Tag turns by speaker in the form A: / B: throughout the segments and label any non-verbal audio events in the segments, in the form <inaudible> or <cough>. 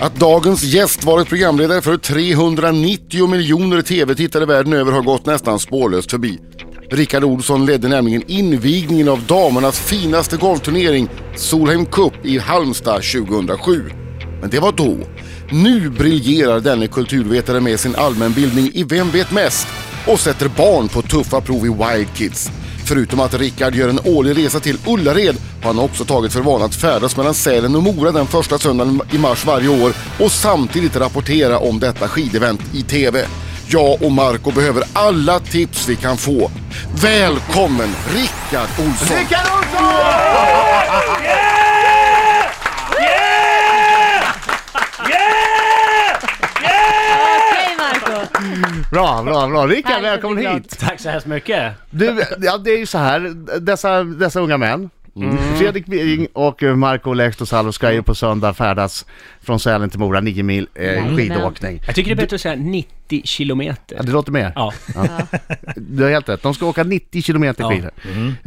A: Att dagens gäst varit programledare för 390 miljoner tv-tittare världen över har gått nästan spårlöst förbi. Rickard Olsson ledde nämligen invigningen av damernas finaste golfturnering Solheim Cup i Halmstad 2007. Men det var då. Nu briljerar denne kulturvetare med sin allmänbildning i Vem vet mest och sätter barn på tuffa prov i Wild Kids. Förutom att Rickard gör en årlig resa till Ullared har han också tagit för vana att färdas mellan Sälen och Mora den första söndagen i mars varje år och samtidigt rapportera om detta skidevent i TV. Jag och Marco behöver alla tips vi kan få. Välkommen Rickard Olsson!
B: Rickard Olsson!
C: Okej Marco.
B: Bra, bra, bra. Rickard,
C: Härligt att
B: välkommen
C: bli glad.
B: hit.
D: Tack så hemskt mycket.
B: Du, ja, det är ju så här, dessa, dessa unga män. Fredrik Bering och eh, Marco Lehtosalo ska ju på söndag färdas från Sälen till Mora, 9 mil eh,
C: Jajamän.
B: skidåkning.
D: Jag tycker det är bättre att säga 90 kilometer.
B: Ja, Det låter mer.
D: Ja,
B: Du har helt rätt. De ska åka 90 kilometer
D: Ja.
B: skidor.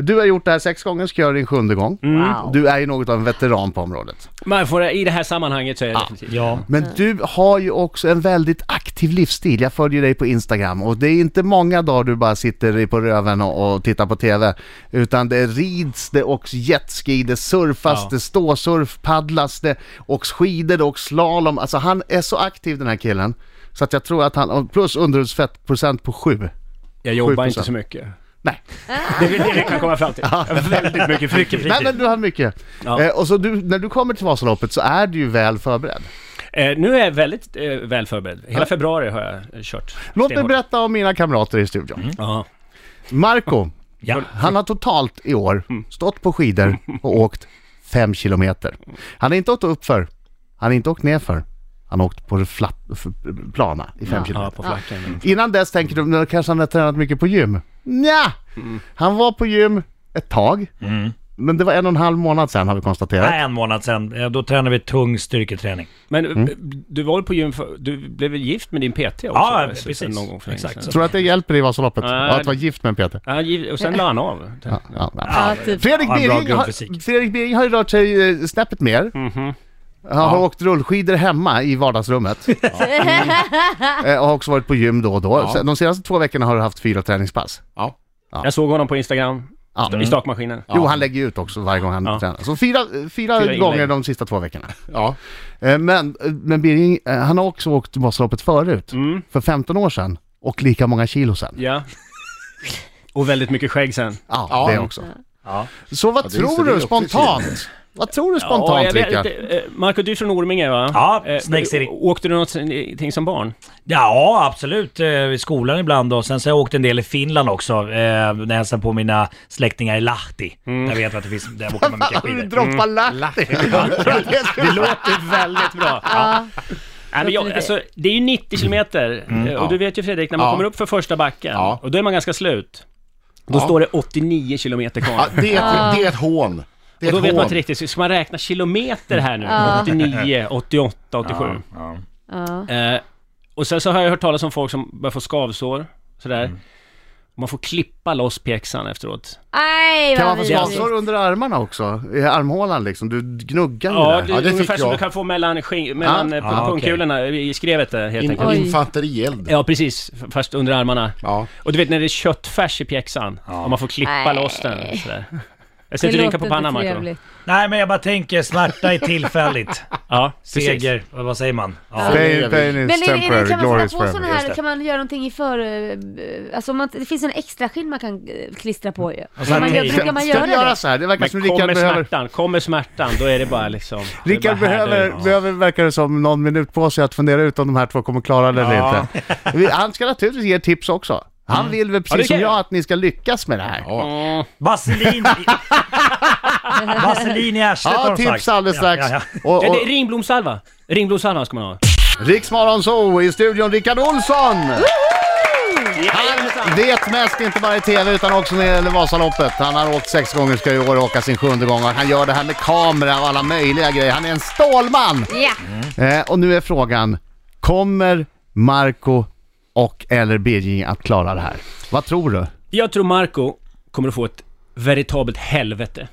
B: Du har gjort det här sex gånger, ska göra din sjunde gång.
C: Wow.
B: Du är ju något av en veteran på området.
D: man får, i det här sammanhanget så är det definitivt. Ja.
B: Men du har ju också en väldigt aktiv livsstil. Jag följer dig på Instagram och det är inte många dagar du bara sitter i på röven och, och tittar på TV. Utan det rids, det åks jetski, det surfas,
D: Ja.
B: det ståsurf, paddlas, det åks skidor, det åks slalom. Alltså han är så aktiv den här killen. Så att jag tror att han, och plus underhudsfettprocent på sju.
D: Jag jobbar
B: 7%.
D: inte så mycket.
B: Nej.
D: Det är det vi kan komma fram till. Jag har väldigt mycket fritid.
B: Nej men du har mycket.
D: Ja.
B: Eh, och så du, när du kommer till Vasaloppet så är du ju väl förberedd.
D: Eh, nu är jag väldigt eh, väl förberedd. Hela februari har jag eh, kört.
B: Låt mig
D: stenhårt.
B: berätta om mina kamrater i studion.
D: Ja.
B: Marco,
D: Ja.
B: han har totalt i år stått på skidor
D: <laughs>
B: och åkt fem kilometer. Han har inte åkt uppför, han har inte åkt nerför. Han har åkt på det flatt, f- plana i fem
D: ja,
B: kilometer.
D: på flacken.
B: Innan dess tänker du, "Nu kanske han har tränat mycket på gym? Nja,
D: Mm.
B: han var på gym ett tag. Men det var en och en halv månad sedan har vi konstaterat.
E: Nej, en månad sedan. Eh, Då tränade vi tung styrketräning.
D: Men eh,
B: Mm.
D: du var väl på gym för, Du blev väl gift med din PT också?
E: Ja,
D: Så-
E: precis.
D: Någon gång för länge
E: Exakt.
D: sedan.
B: Tror du att det hjälper i Vasaloppet?
D: Nej.
B: Ja, att vara gift med en Peter?
D: Ja, giv- och sen la han av.
B: Ja, ja, nej.
C: Ja, typ.
B: Fredrik
E: Ja, en bra
B: Bering, har,
E: grundfysik.
B: Fredrik Bering har ju rört sig eh, snäppet mer. Han har åkt rullskidor hemma i vardagsrummet. Eh, och har också varit på gym då och då. Sen- De senaste två veckorna har du haft fyra träningspass.
D: Jag såg honom på Instagram.
B: Ja. Mm.
D: I stakmaskinen.
B: Jo, han lägger ju ut också varje gång han
D: Ja.
B: tränar. Så fyra, fyra,
D: inlägg.
B: gånger de sista två veckorna.
A: Ja.
B: Eh, Men, eh, men Bering, eh, han har också åkt Vasaloppet förut. För 15 år sedan. Och lika många kilo sen.
D: Ja. Och väldigt mycket skägg sen.
B: Ja,
A: Ja.
B: det också.
E: Ja.
B: Så vad
A: Ja, det är- det
B: tror
A: är
B: du
A: också
B: spontant? Vad tror du
D: Ja,
B: spontant,
D: jag vet
B: Rickard?
D: inte. Eh, Marco, du är från Orminge va?
E: Ja,
D: Eh,
E: Snake City.
D: Åkte du någonting
A: <laughs>
D: som barn?
E: Ja, absolut. Eh, I skolan ibland och sen så har jag åkt en del i Finland också. Eh, när jag hälsade på mina släktingar i Lahti.
D: Mm.
E: Där vet jag att det finns, där åker man mycket
B: Du <laughs>
D: <laughs>
E: skidor.
B: droppar Lahti!
D: Det låter väldigt bra.
C: <laughs> Ja.
D: Nej, men jag,
C: lite-
D: alltså, det är ju 90 kilometer. Eh, och du vet ju Fredrik, när man
A: Mm. Ja.
D: kommer upp för första backen,
A: Ja.
D: och då är man ganska slut. Då
A: Ja.
D: står det 89 kilometer kvar.
A: Ja, det, är ett, det är ett hån. Det är
D: och då
A: ett
D: vet man
A: hån.
D: inte riktigt, så ska man räkna kilometer här nu? <laughs>
C: Ja.
D: 89, 88, 87.
E: Ja.
C: Ja.
D: Eh, och sen så har jag hört talas om folk som börjar få skavsår, sådär.
A: Mm.
D: Man får klippa loss pjäxan efteråt.
C: Nej,
B: Kan
C: vad
B: man få
C: vidrigt.
B: skavsår under armarna också? I armhålan liksom? Du gnuggar ju
D: Ja, det,
B: där.
A: Ja, det fick
D: ungefär som
A: jag.
D: du kan få mellan, skin- mellan
B: Ja.
D: eh,
E: Ah, okej.
D: pungkulorna i skrevet där, helt
A: In,
D: enkelt.
C: Oj.
A: infanterield.
D: Ja, precis. F- Fast under armarna.
A: Ja.
D: Och du vet när det är köttfärs i pjäxan, och man får klippa
C: Nej.
D: loss den sådär. Jag
C: Det
D: sitter och rynkar på
C: låter
D: pannan,
C: inte
D: Marko.
C: trevligt.
E: Nej, men jag bara tänker smärta är tillfälligt.
D: Ja, <laughs> precis.
E: Seger, vad vad säger man? Ja.
B: Pain, pain
C: Men
B: is
C: är, det- är det,
B: temporary,
C: kan man
B: glory is
C: sätta på sådana
B: forever.
E: Just
C: här,
E: det.
C: kan man göra någonting i för... eh, Alltså om man, det finns en extra skinn man kan eh, klistra på ju.
E: Och
C: Kan
E: sen
C: man, gör,
E: tejp.
C: brukar man
B: Ska
C: göra
B: vi göra
C: det?
B: så här? Det verkar
D: Men
B: som Rickard
D: kommer
B: behöver...
D: smärtan, kommer smärtan, då är det bara liksom... det
B: <laughs>
D: är
B: Rickard
D: bara här
B: behöver,
D: nu.
B: behöver, verkar det som, någon minut på sig att fundera ut om de här två kommer klara det eller inte. Vi- Han ska naturligtvis ge tips också. Han vill väl precis
D: det kan
B: som
D: jag.
B: jag att ni ska lyckas med det här. Ja,
E: Vaselin i... Vaselin i arslet har de
B: tips
E: sagt.
B: alldeles strax.
E: Ja, ja,
B: Och,
D: Ja,
B: och
D: det är ringblomsalva. Ringblomsalva ska man ha.
B: Riksmorgon Zoo i studion, Rickard Olsson! Han vet mest, inte bara i TV utan också när det gäller Vasaloppet. Han har åkt sex gånger, ska i år åka sin sjunde gång och han gör det här med kamera och alla möjliga grejer. Han är en stålman!
C: Ja.
B: Eh, och nu är frågan, kommer Marco och eller Birging att klara det här? Vad tror du?
D: Jag tror Marco kommer att få ett veritabelt
B: Mm.
D: helvete.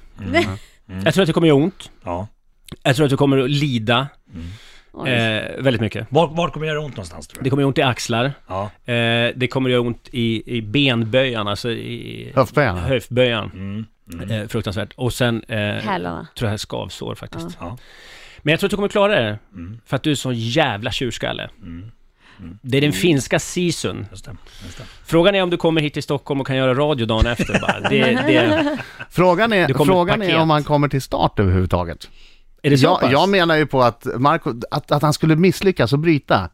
D: Jag tror att det kommer göra ont.
E: ja.
D: Jag tror att du kommer att lida.
C: Mm. Oj.
D: Eh, väldigt mycket.
E: Var, var kommer det göra ont någonstans tror
D: Det
E: du?
D: kommer göra ont i axlar.
E: Ja.
D: Eh, det kommer göra ont i, i benböjan, alltså i
B: Höftböjan.
D: höftböjan.
E: Mm.
D: Eh, fruktansvärt. Och sen... Eh,
C: Hälarna.
D: tror jag är skavsår faktiskt.
E: Ja.
D: Men jag tror att du kommer klara det.
E: Mm.
D: För att du är så jävla tjurskalle.
E: Mm.
D: Det är den finska sisun.
E: Just det. Just det.
D: Frågan är om du kommer hit till Stockholm och kan göra radio dagen efter bara. Det, det,
C: <laughs>
B: Frågan
D: Det
B: är,
D: kommer ett
B: frågan är
D: paket.
B: om han kommer till start överhuvudtaget.
D: är det så
B: Jag,
D: pass?
B: jag menar ju på att Marco, att, att han skulle misslyckas och bryta,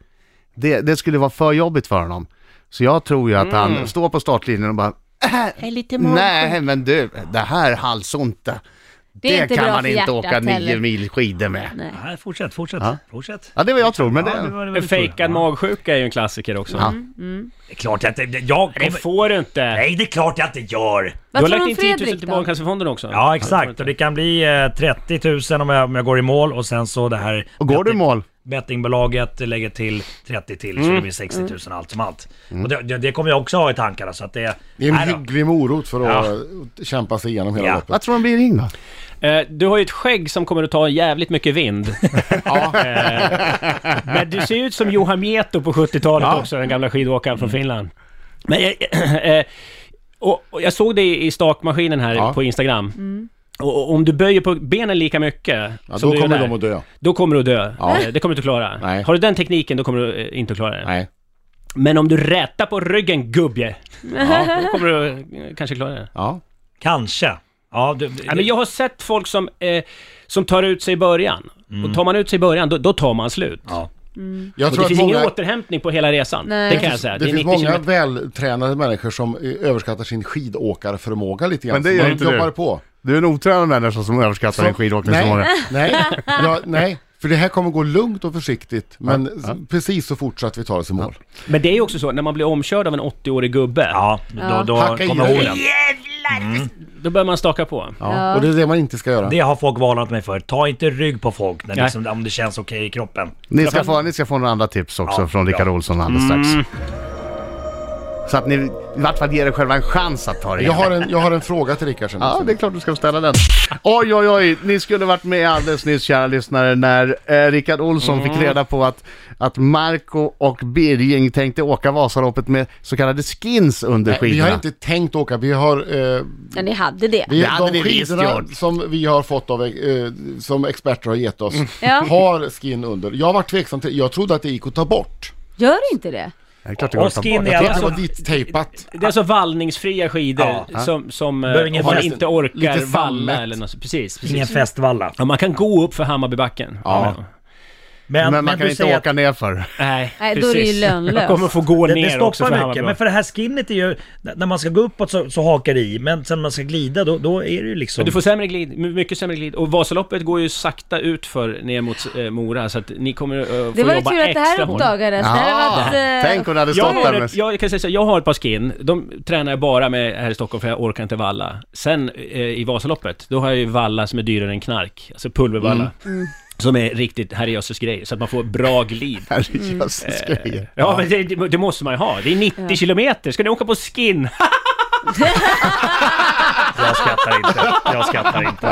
B: det, det skulle vara för jobbigt för honom. Så jag tror ju att
D: Mm.
B: han står på startlinjen och bara
C: Är lite
B: Nej, men du, det här halsonta,
C: Det är
B: det,
C: inte
B: kan
C: bra
B: man
C: för
B: inte
C: hjärtat
B: åka nio
C: heller.
B: mil skidor med.
C: Nej.
E: Nej, fortsätt, fortsätt.
B: Ja.
E: fortsätt.
B: Ja, det är vad jag tror, men det...
E: var
D: En fejkad magsjuka är ju en klassiker också.
B: Ja.
C: Mm.
E: Det är klart att jag jag
D: Det
E: kommer...
D: får du inte!
E: Nej, det är klart jag inte gör!
D: Du
C: Vad
D: har
C: tror
D: lagt
C: du
D: in
C: om
D: 10 000
C: Fredrik
D: till
C: då?
D: Barncancerfonden också.
E: Ja, exakt. Och det kan bli eh, 30 000 om jag, om jag går i mål och sen så det här...
B: Och går du i
E: betting-
B: mål? Mm.
E: Bettingbolaget lägger till 30 till så det blir 60 000 allt som allt. Och det, det, det kommer jag också ha i tankarna så att det...
A: Det är en
E: Nej då.
A: hygglig morot för att eh, kämpa sig igenom hela
E: Ja.
A: loppet.
B: Vad tror du han blir ring då?
D: Eh, Du har ju ett skägg som kommer att ta jävligt
A: <laughs>
D: mycket vind. Eh, Men du ser ut som Johan Mieto på 70-talet också, den gamla skidåkaren
A: Mm.
D: från Finland. Men jag, eh, och, och jag såg dig i stakmaskinen här
A: Ja.
D: på Instagram. Och, och om du böjer på benen lika mycket
A: Ja,
D: som
A: då
D: du gör
A: kommer
D: där,
A: de att dö.
D: Då kommer du att dö.
A: Ja.
D: Eh, Det kommer du inte klara.
A: Nej.
D: Har du den tekniken, då kommer du eh, inte att klara det.
A: Nej.
D: Men om du rätar på ryggen, gubbe, då kommer du eh, kanske klara det.
A: Ja.
E: Kanske. Ja, du,
D: Ja, men jag har sett folk som, eh, som tar ut sig i början. Och tar man ut sig i början, då, då tar man slut.
E: Ja.
A: Jag
D: Och
A: tror
D: det
A: att
D: finns ingen
A: många,
D: återhämtning på hela resan.
C: Nej. Det
D: Det kan jag
A: finns-
D: säga.
A: det
D: är
A: finns
D: 90
A: många
D: kilometer.
A: vältränade människor som eh, överskattar sin skidåkarförmåga lite grann.
B: Men det
A: Så
B: gör
A: man
B: inte du.
A: jobbar på.
B: Du är en otränad människa som överskattar din skidåkningsförmåga.
A: nej, nej, ja, nej, för det här kommer gå lugnt och försiktigt, men s- precis så fort så att vi tar oss i mål.
D: Men det är ju också så, när man blir omkörd av en 80-årig gubbe,
E: Ja, då, då
A: Hacka i
E: kommer
A: dig.
E: orden.
D: då börjar man staka på.
A: Ja. Och det är det man inte ska göra.
E: Det har folk varnat mig för. Ta inte rygg på folk när
D: Nej.
E: liksom, om det känns okej i kroppen.
B: <laughs> Ni ska, få, ni ska få några andra tips också
E: Ja,
B: från Rickard
E: bra.
B: Olsson alldeles strax. Så att ni i vart fall ger er själva en chans att ta det
A: Jag har en, jag har en fråga till Rickard sen.
B: Ja,
A: också.
B: det är klart du ska få ställa den. Oj, oj, oj. Ni skulle varit med alldeles nyss, kära lyssnare, när eh, Rickard Olsson fick reda på att, att Marco och Birging tänkte åka Vasaloppet med så kallade skins under
A: Nej, vi
B: skidorna.
A: har inte tänkt åka, vi har... Eh,
C: Ja, ni hade det.
A: vi,
B: Det hade
A: de
B: ni visst
A: skidorna
B: gjort.
A: som vi har fått av, eh, som experter har gett <laughs> oss,
C: Ja.
A: har skin under. Jag var tveksam till, jag trodde att det gick att ta bort.
C: Gör inte det?
B: Det är klart det går att ta
E: Och skin
B: bort.
E: är
A: Jag trodde
E: alltså-
A: det var ditt tejpat.
D: Det är alltså vallningsfria skidor
E: Ja.
D: som, som eh,
E: Behöver ingen
D: om man
E: fäst.
D: inte orkar
A: Lite
D: valla
A: sammet.
D: eller något. sånt. Precis,
E: Ingen
D: precis.
E: festvalla.
D: Ja, man kan gå upp för Hammarbybacken.
A: Ja.
E: Men,
B: Men man
E: du
B: kan inte
E: säger att
B: åka ner för.
D: Nej,
C: Nej, då är det ju lönlöst.
D: Jag kommer få gå
E: Det,
D: ner också
E: det
D: för
E: stoppar mycket,
D: Hammarby.
E: men för det här skinnet är ju... när- När man ska gå uppåt så, så hakar det i, men sen när man ska glida då, då är det ju liksom...
D: Men Du får sämre glid, my- mycket sämre glid. Och Vasaloppet går ju sakta ut för ner mot eh, Mora, så att ni kommer eh, få jobba
C: Det
D: extra
C: var ju tur att det här
D: hårt.
C: uppdagades. Det hade varit, eh,
B: tänk om det hade
D: Jag
B: stått
D: har,
B: där med... <laughs>
D: ett, jag, kan säga så, här, jag har ett par skin, de tränar jag bara med här i Stockholm för jag orkar inte valla. Sen eh, i Vasaloppet, då har jag ju valla som är dyrare än knark, alltså pulvervalla.
C: Mm.
D: Som är riktigt herrejösses grej, så att man får bra glid.
C: Mm.
B: Herrejösses grejer.
D: Ja, men det, det- det måste man ju ha. Det är 90 kilometer, ska ni åka på skin? <laughs>
E: Jag skrattar inte. Jag skrattar inte.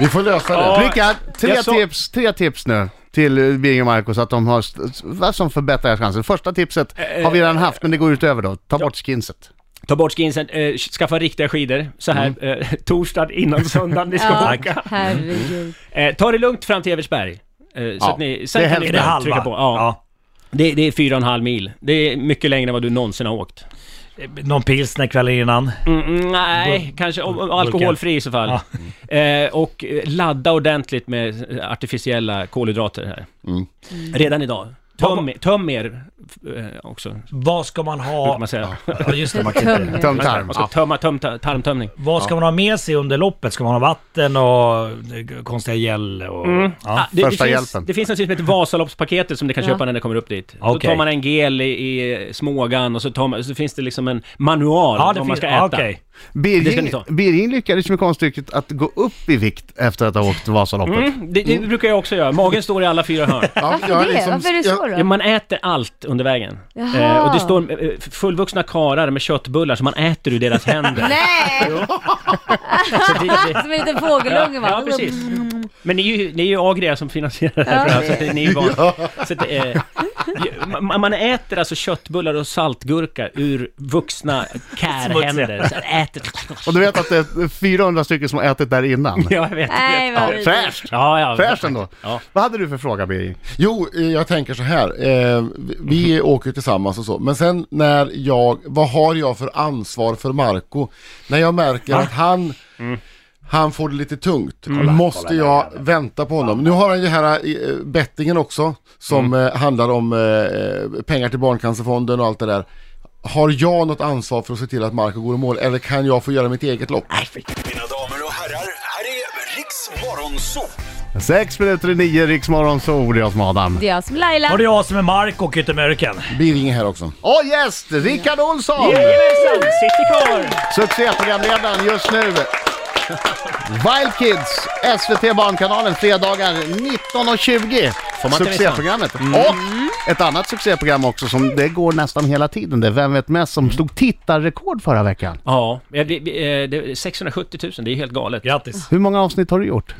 A: Vi får lösa det.
D: Ja.
B: Rickard, tre,
D: Jag så-
B: tips, tre tips nu till eh, Birging och Marco så att de har, st- s- vad som förbättrar deras chanser. Första tipset har vi redan haft, men det går utöver då. Ta bort skinset.
D: Ta bort skinsen, eh, skaffa riktiga skidor. Så här, eh, <laughs> torsdag innan söndag ni ska
C: Ja,
D: åka.
C: herregud.
D: Eh, ta det lugnt fram till Eversberg. Eh, så
B: Ja,
D: att ni, sen
B: det är
D: kan
E: Är
D: ni
E: det
D: börja
E: halva?
D: trycka på. Ja. Det, det är fyra och en halv mil. Det är mycket längre än vad du någonsin har åkt.
E: Eh, Någon pilsner kvällen innan.
D: Mm, mm, nej, kanske om, om alkoholfri i så fall. Eh, och eh, ladda ordentligt med eh, artificiella kolhydrater här.
B: Mm.
D: Redan idag. Töm, töm er eh, också,
E: Vad ska man
D: brukar
E: ha...
D: man säga.
E: Ja, just det, man kan inte...
C: Tömmer.
B: Tömtarm.
D: Man ska tömma, töm, ta- tarmtömning.
E: Vad ska man ha med sig under loppet? Ska man ha vatten och eh, konstiga gel och...
D: Ah,
E: Ja.
D: det,
B: första
D: det finns,
B: hjälpen.
D: Det finns något som heter Vasaloppspaketet som du kan
C: Ja.
D: köpa när det kommer upp dit. Då
E: Okej.
D: tar man en gel i, i smågan och så, tar man, så finns det liksom en manual
E: Ja,
D: vad
E: det
D: man
E: finns...
D: ska
E: Ja,
D: äta.
E: okej.
D: Det ska ni
B: Birging,
D: ta.
B: Birging lyckades med konststycket att gå upp i vikt efter att ha åkt Vasaloppet.
E: Mm.
D: Mm, det, det brukar jag också göra. Magen står i alla fyra hörn.
A: Ja,
C: <laughs> Varför
A: jag har
B: liksom-
C: det? Varför är det så
A: jag,
C: då?
D: Ja, man äter allt under vägen.
C: Jaha.
D: Eh, och det står eh, fullvuxna karar med köttbullar som man äter ur deras
C: <laughs>
D: händer.
B: <laughs>
C: Nej!
D: Så det,
C: <laughs>
D: det...
C: Som en liten fågelunge va?
D: Ja, precis. Men ni är ju, ni är ju Agria som finansierar det här
C: Ja.
D: programmet, så att ni är ju
E: <laughs>
D: van. Så att, eh, ju- man, man äter alltså köttbullar och saltgurka ur vuxna kärhänder. Så att äter...
E: <laughs>
B: Och du vet att det är 400 stycken som har ätit där innan?
D: Ja, jag vet.
C: Nej, vad vidrigt.
B: Fräscht!
D: Ja, ja.
B: Fräscht ändå.
D: Ja.
B: Vad hade du för fråga Birger?
A: Jo, eh, jag tänker så här. Eh, vi- vi åker ju tillsammans och så. Men sen när jag, vad har jag för ansvar för Marco? När jag märker att han, han får det lite tungt. måste jag vänta på honom? Nu har han ju här eh, bettingen också. Som eh, handlar om eh, pengar till Barncancerfonden och allt det där. Har jag något ansvar för att se till att Marco går i mål? Eller kan jag få göra mitt eget lopp?
F: Mina damer och herrar, här är Riks Morgonzoo!
B: Sex minuter i nio, Riksmorgon, så det är jag som Adam.
C: Det är jag som är Laila.
E: Har du jag som är Mark och Yttermörken?
A: Birringe här också.
B: Och gäst, Rickard Olsson!
D: Jajamensan, sitter kvar!
B: Succéprogramledaren just nu. Wild Kids, SVT Barnkanalen, fredagar 19.20.
D: man inte
B: Succéprogrammet. Och ett annat succéprogram också som det går nästan hela tiden. Det är Vem vet mest som slog tittarrekord förra veckan.
D: Ja, ja, det, det, eh, det, 670 000, det är helt galet.
E: Grattis!
B: Hur många avsnitt har du gjort?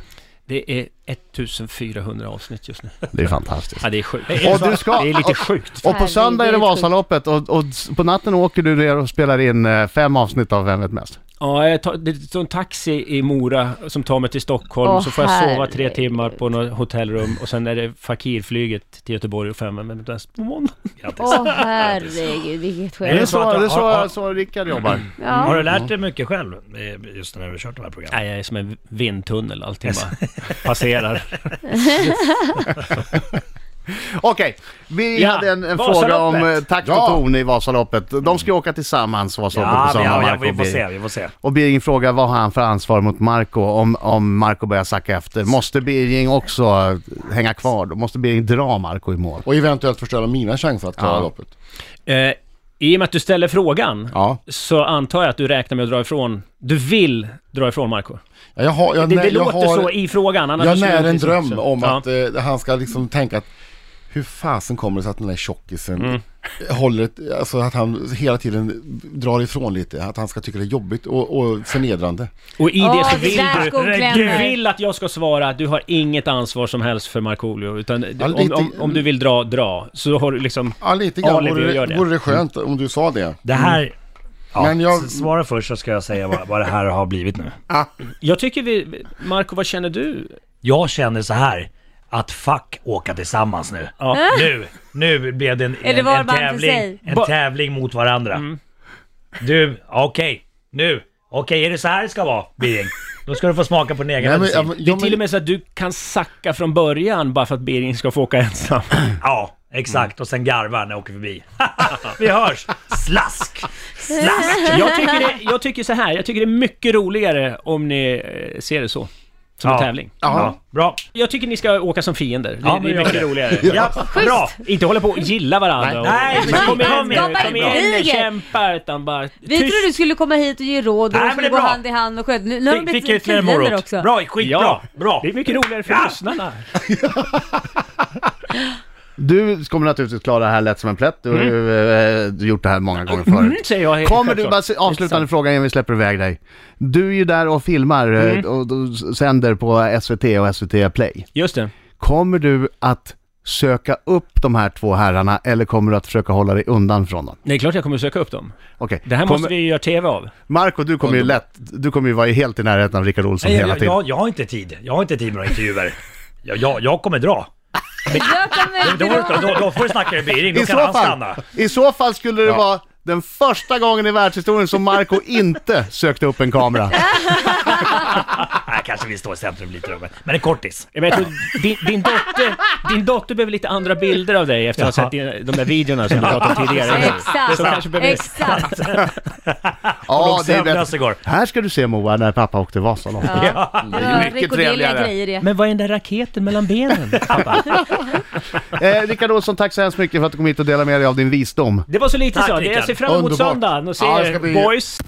D: Det är 1400 avsnitt just nu.
B: Det är fantastiskt.
D: Ja, det är sjukt.
B: Och du ska-
D: Det är lite sjukt.
B: Och på söndag är det Vasaloppet och, och s- på natten åker du ner och spelar in eh, fem avsnitt av Vem vet mest?
D: Ja, jag tar, det står en taxi i Mora som tar mig till Stockholm,
C: Åh,
D: så får jag sova tre
C: herregud.
D: timmar på något hotellrum och sen är det Fakirflyget till Göteborg och fem men inte ens på måndag.
C: Åh herregud, vilket
B: Det är
C: skämt.
E: så
B: så,
E: att-
B: det är så,
E: har-
B: så Rickard jobbar.
E: Har
C: Ja.
E: du lärt dig mycket själv eh, just när du har kört de här programmen?
D: Nej, jag är som en vindtunnel, allting bara passerar.
B: Okej, vi
D: Ja,
B: hade en, en
D: Vasaloppet.
B: fråga om eh, takt och
A: Ja.
B: ton i Vasaloppet. De ska ju åka tillsammans, Vasaloppet på
E: Ja,
B: söndag,
E: ja, ja,
B: Marco
E: vi
B: och
E: får
B: Birger.
E: se, vi får se.
B: Och Birging frågar vad har han för ansvar mot Marco om, om Marco börjar sacka efter? Måste Birging också eh, hänga kvar då? Måste Birging dra Marco i mål?
A: Och eventuellt förstöra mina chanser att klara
B: Ja.
A: loppet.
D: <laughs> Eh, I och med att du ställer frågan,
A: Ja.
D: så antar jag att du räknar med att dra ifrån. Du vill dra ifrån Marco
A: Ja, Jag har, jag,
D: Det, det
A: jag
D: låter
A: har,
D: så i frågan. annars
A: Jag
D: skulle
A: när en
D: inte-
A: dröm om
D: Ja.
A: att eh, han ska liksom tänka att hur fasen kommer det sig att den där tjockisen
D: Mm.
A: håller ett, alltså att han hela tiden drar ifrån lite, att han ska tycka det är jobbigt och, och förnedrande.
D: Och i det
C: Åh,
D: så
C: det
D: vill
C: där skon
D: du... Du
C: klämmer.
D: vill att jag ska svara att du har inget ansvar som helst för Markoolio, utan du-
A: Ja,
D: om,
A: lite-
D: om, om du vill dra, dra. Så har du liksom...
A: Ja lite grann
D: Alibi
A: vore
D: gör
A: det,
D: det. Mm.
A: vore det skönt om du sa det.
E: Det här... Mm. Ja,
A: Men jag-
E: s- Svara först så ska jag säga vad, vad det här har blivit nu.
D: Jag tycker vi... Marco, vad känner du?
E: Jag känner så här att fuck åka tillsammans nu.
D: Ja.
E: Nu, nu blev det en,
C: Är det
E: en,
C: var
E: en,
C: man för
E: tävling,
C: sig?
E: en
D: Ba-
E: tävling mot varandra. Du, okej, nu. Okej, är det så här det ska vara, Birging? Då ska du få smaka på din egen
A: Nej, men, ja,
E: medicin.
A: men,
D: Det
A: ja,
D: är till
A: men,
D: och med så att du kan sacka från början bara för att Bering ska få åka ensam.
E: Ja, exakt.
A: Mm.
E: Och sen garvar när jag åker förbi. <laughs> Vi hörs! Slask! Slask!
D: Jag tycker, det, jag tycker så här, jag tycker det är mycket roligare om ni eh, ser det så. Som
E: Ja.
D: en tävling.
E: Ja, bra.
D: Jag tycker ni ska åka som fiender. Det,
E: Ja,
D: det
E: men
D: är
E: gör
D: mycket
E: det.
D: roligare.
E: Ja, bra!
D: Inte hålla på och gilla varandra.
E: Nej,
D: och,
E: nej,
D: kom igen,
E: skapa
D: kom igen,
C: ett
D: kom igen,
C: kriget.
D: kämpa utan bara...
C: Vi
D: tyst.
C: trodde du skulle komma hit och ge råd och
E: Nej,
C: de
E: men
C: skulle
E: det
C: gå
E: är bra.
C: hand i hand och sköta. Nu, nu har de
E: Fick- Fick
C: blivit
E: ytterligare
C: fiender
E: morot.
C: också.
E: Bra, skitbra!
D: Ja,
E: Bra!
D: Det är mycket roligare för
E: Ja.
D: lyssnarna.
B: Du kommer naturligtvis klara det här lätt som en plätt. Du har ju eh, gjort det här många gånger
D: Mm,
B: förut.
D: säger jag helt
B: Kommer du,
E: <laughs>
D: självklart.
B: bara se- avslutande fråga innan vi släpper iväg dig. Du är ju där och filmar eh,
E: Mm.
B: och, och s- sänder på SVT och SVT Play.
D: Just det.
B: Kommer du att söka upp de här två herrarna eller kommer du att försöka hålla dig undan från dem?
D: Det är klart jag kommer söka upp dem.
B: Okej.
D: Det här
B: Kommer-
D: måste vi ju göra TV av.
B: Marco, du kommer ju lätt, du kommer ju vara helt i närheten av Rickard Olsson
E: Nej,
B: hela
E: jag,
B: tiden.
E: jag, jag har inte tid. Jag har inte tid med några intervjuer. Jag, jag, jag kommer dra.
C: Jag kommer
E: Då,
C: dra.
E: då, då får du snacka med Birging,
B: I,
E: då kan
B: så
E: han
B: fall,
E: stanna.
B: I så fall skulle det vara den första gången i världshistorien som Marco
C: <laughs>
B: inte sökte upp en kamera.
E: Nej, kanske vi står i centrum lite då, men- men en kortis.
D: Men jag tror, din, din, dotter, din dotter behöver lite andra bilder av dig efter att ha sett din- de där videorna som du pratade om tidigare. Så kanske
C: Exakt,
D: behöver-
C: exakt.
B: Ja,
E: Låg
B: det är
E: sömnlös
B: bättre.
E: igår.
B: Här ska du se Moa när pappa åkte Vasaloppet.
C: Ja, det var
B: mycket
C: rekorderliga
B: trevligare.
C: grejer det.
D: Men vad är den där raketen mellan benen, pappa?
B: Eh, Rickard Olsson, tack så hemskt mycket för att du kom hit och delade med dig av din visdom.
D: Det var så lite
E: Tack,
D: så. Det- Jag
E: Rickard.
D: ser fram emot
A: Underbart.
D: söndagen och se
A: Ja, det ska bli-
D: boys.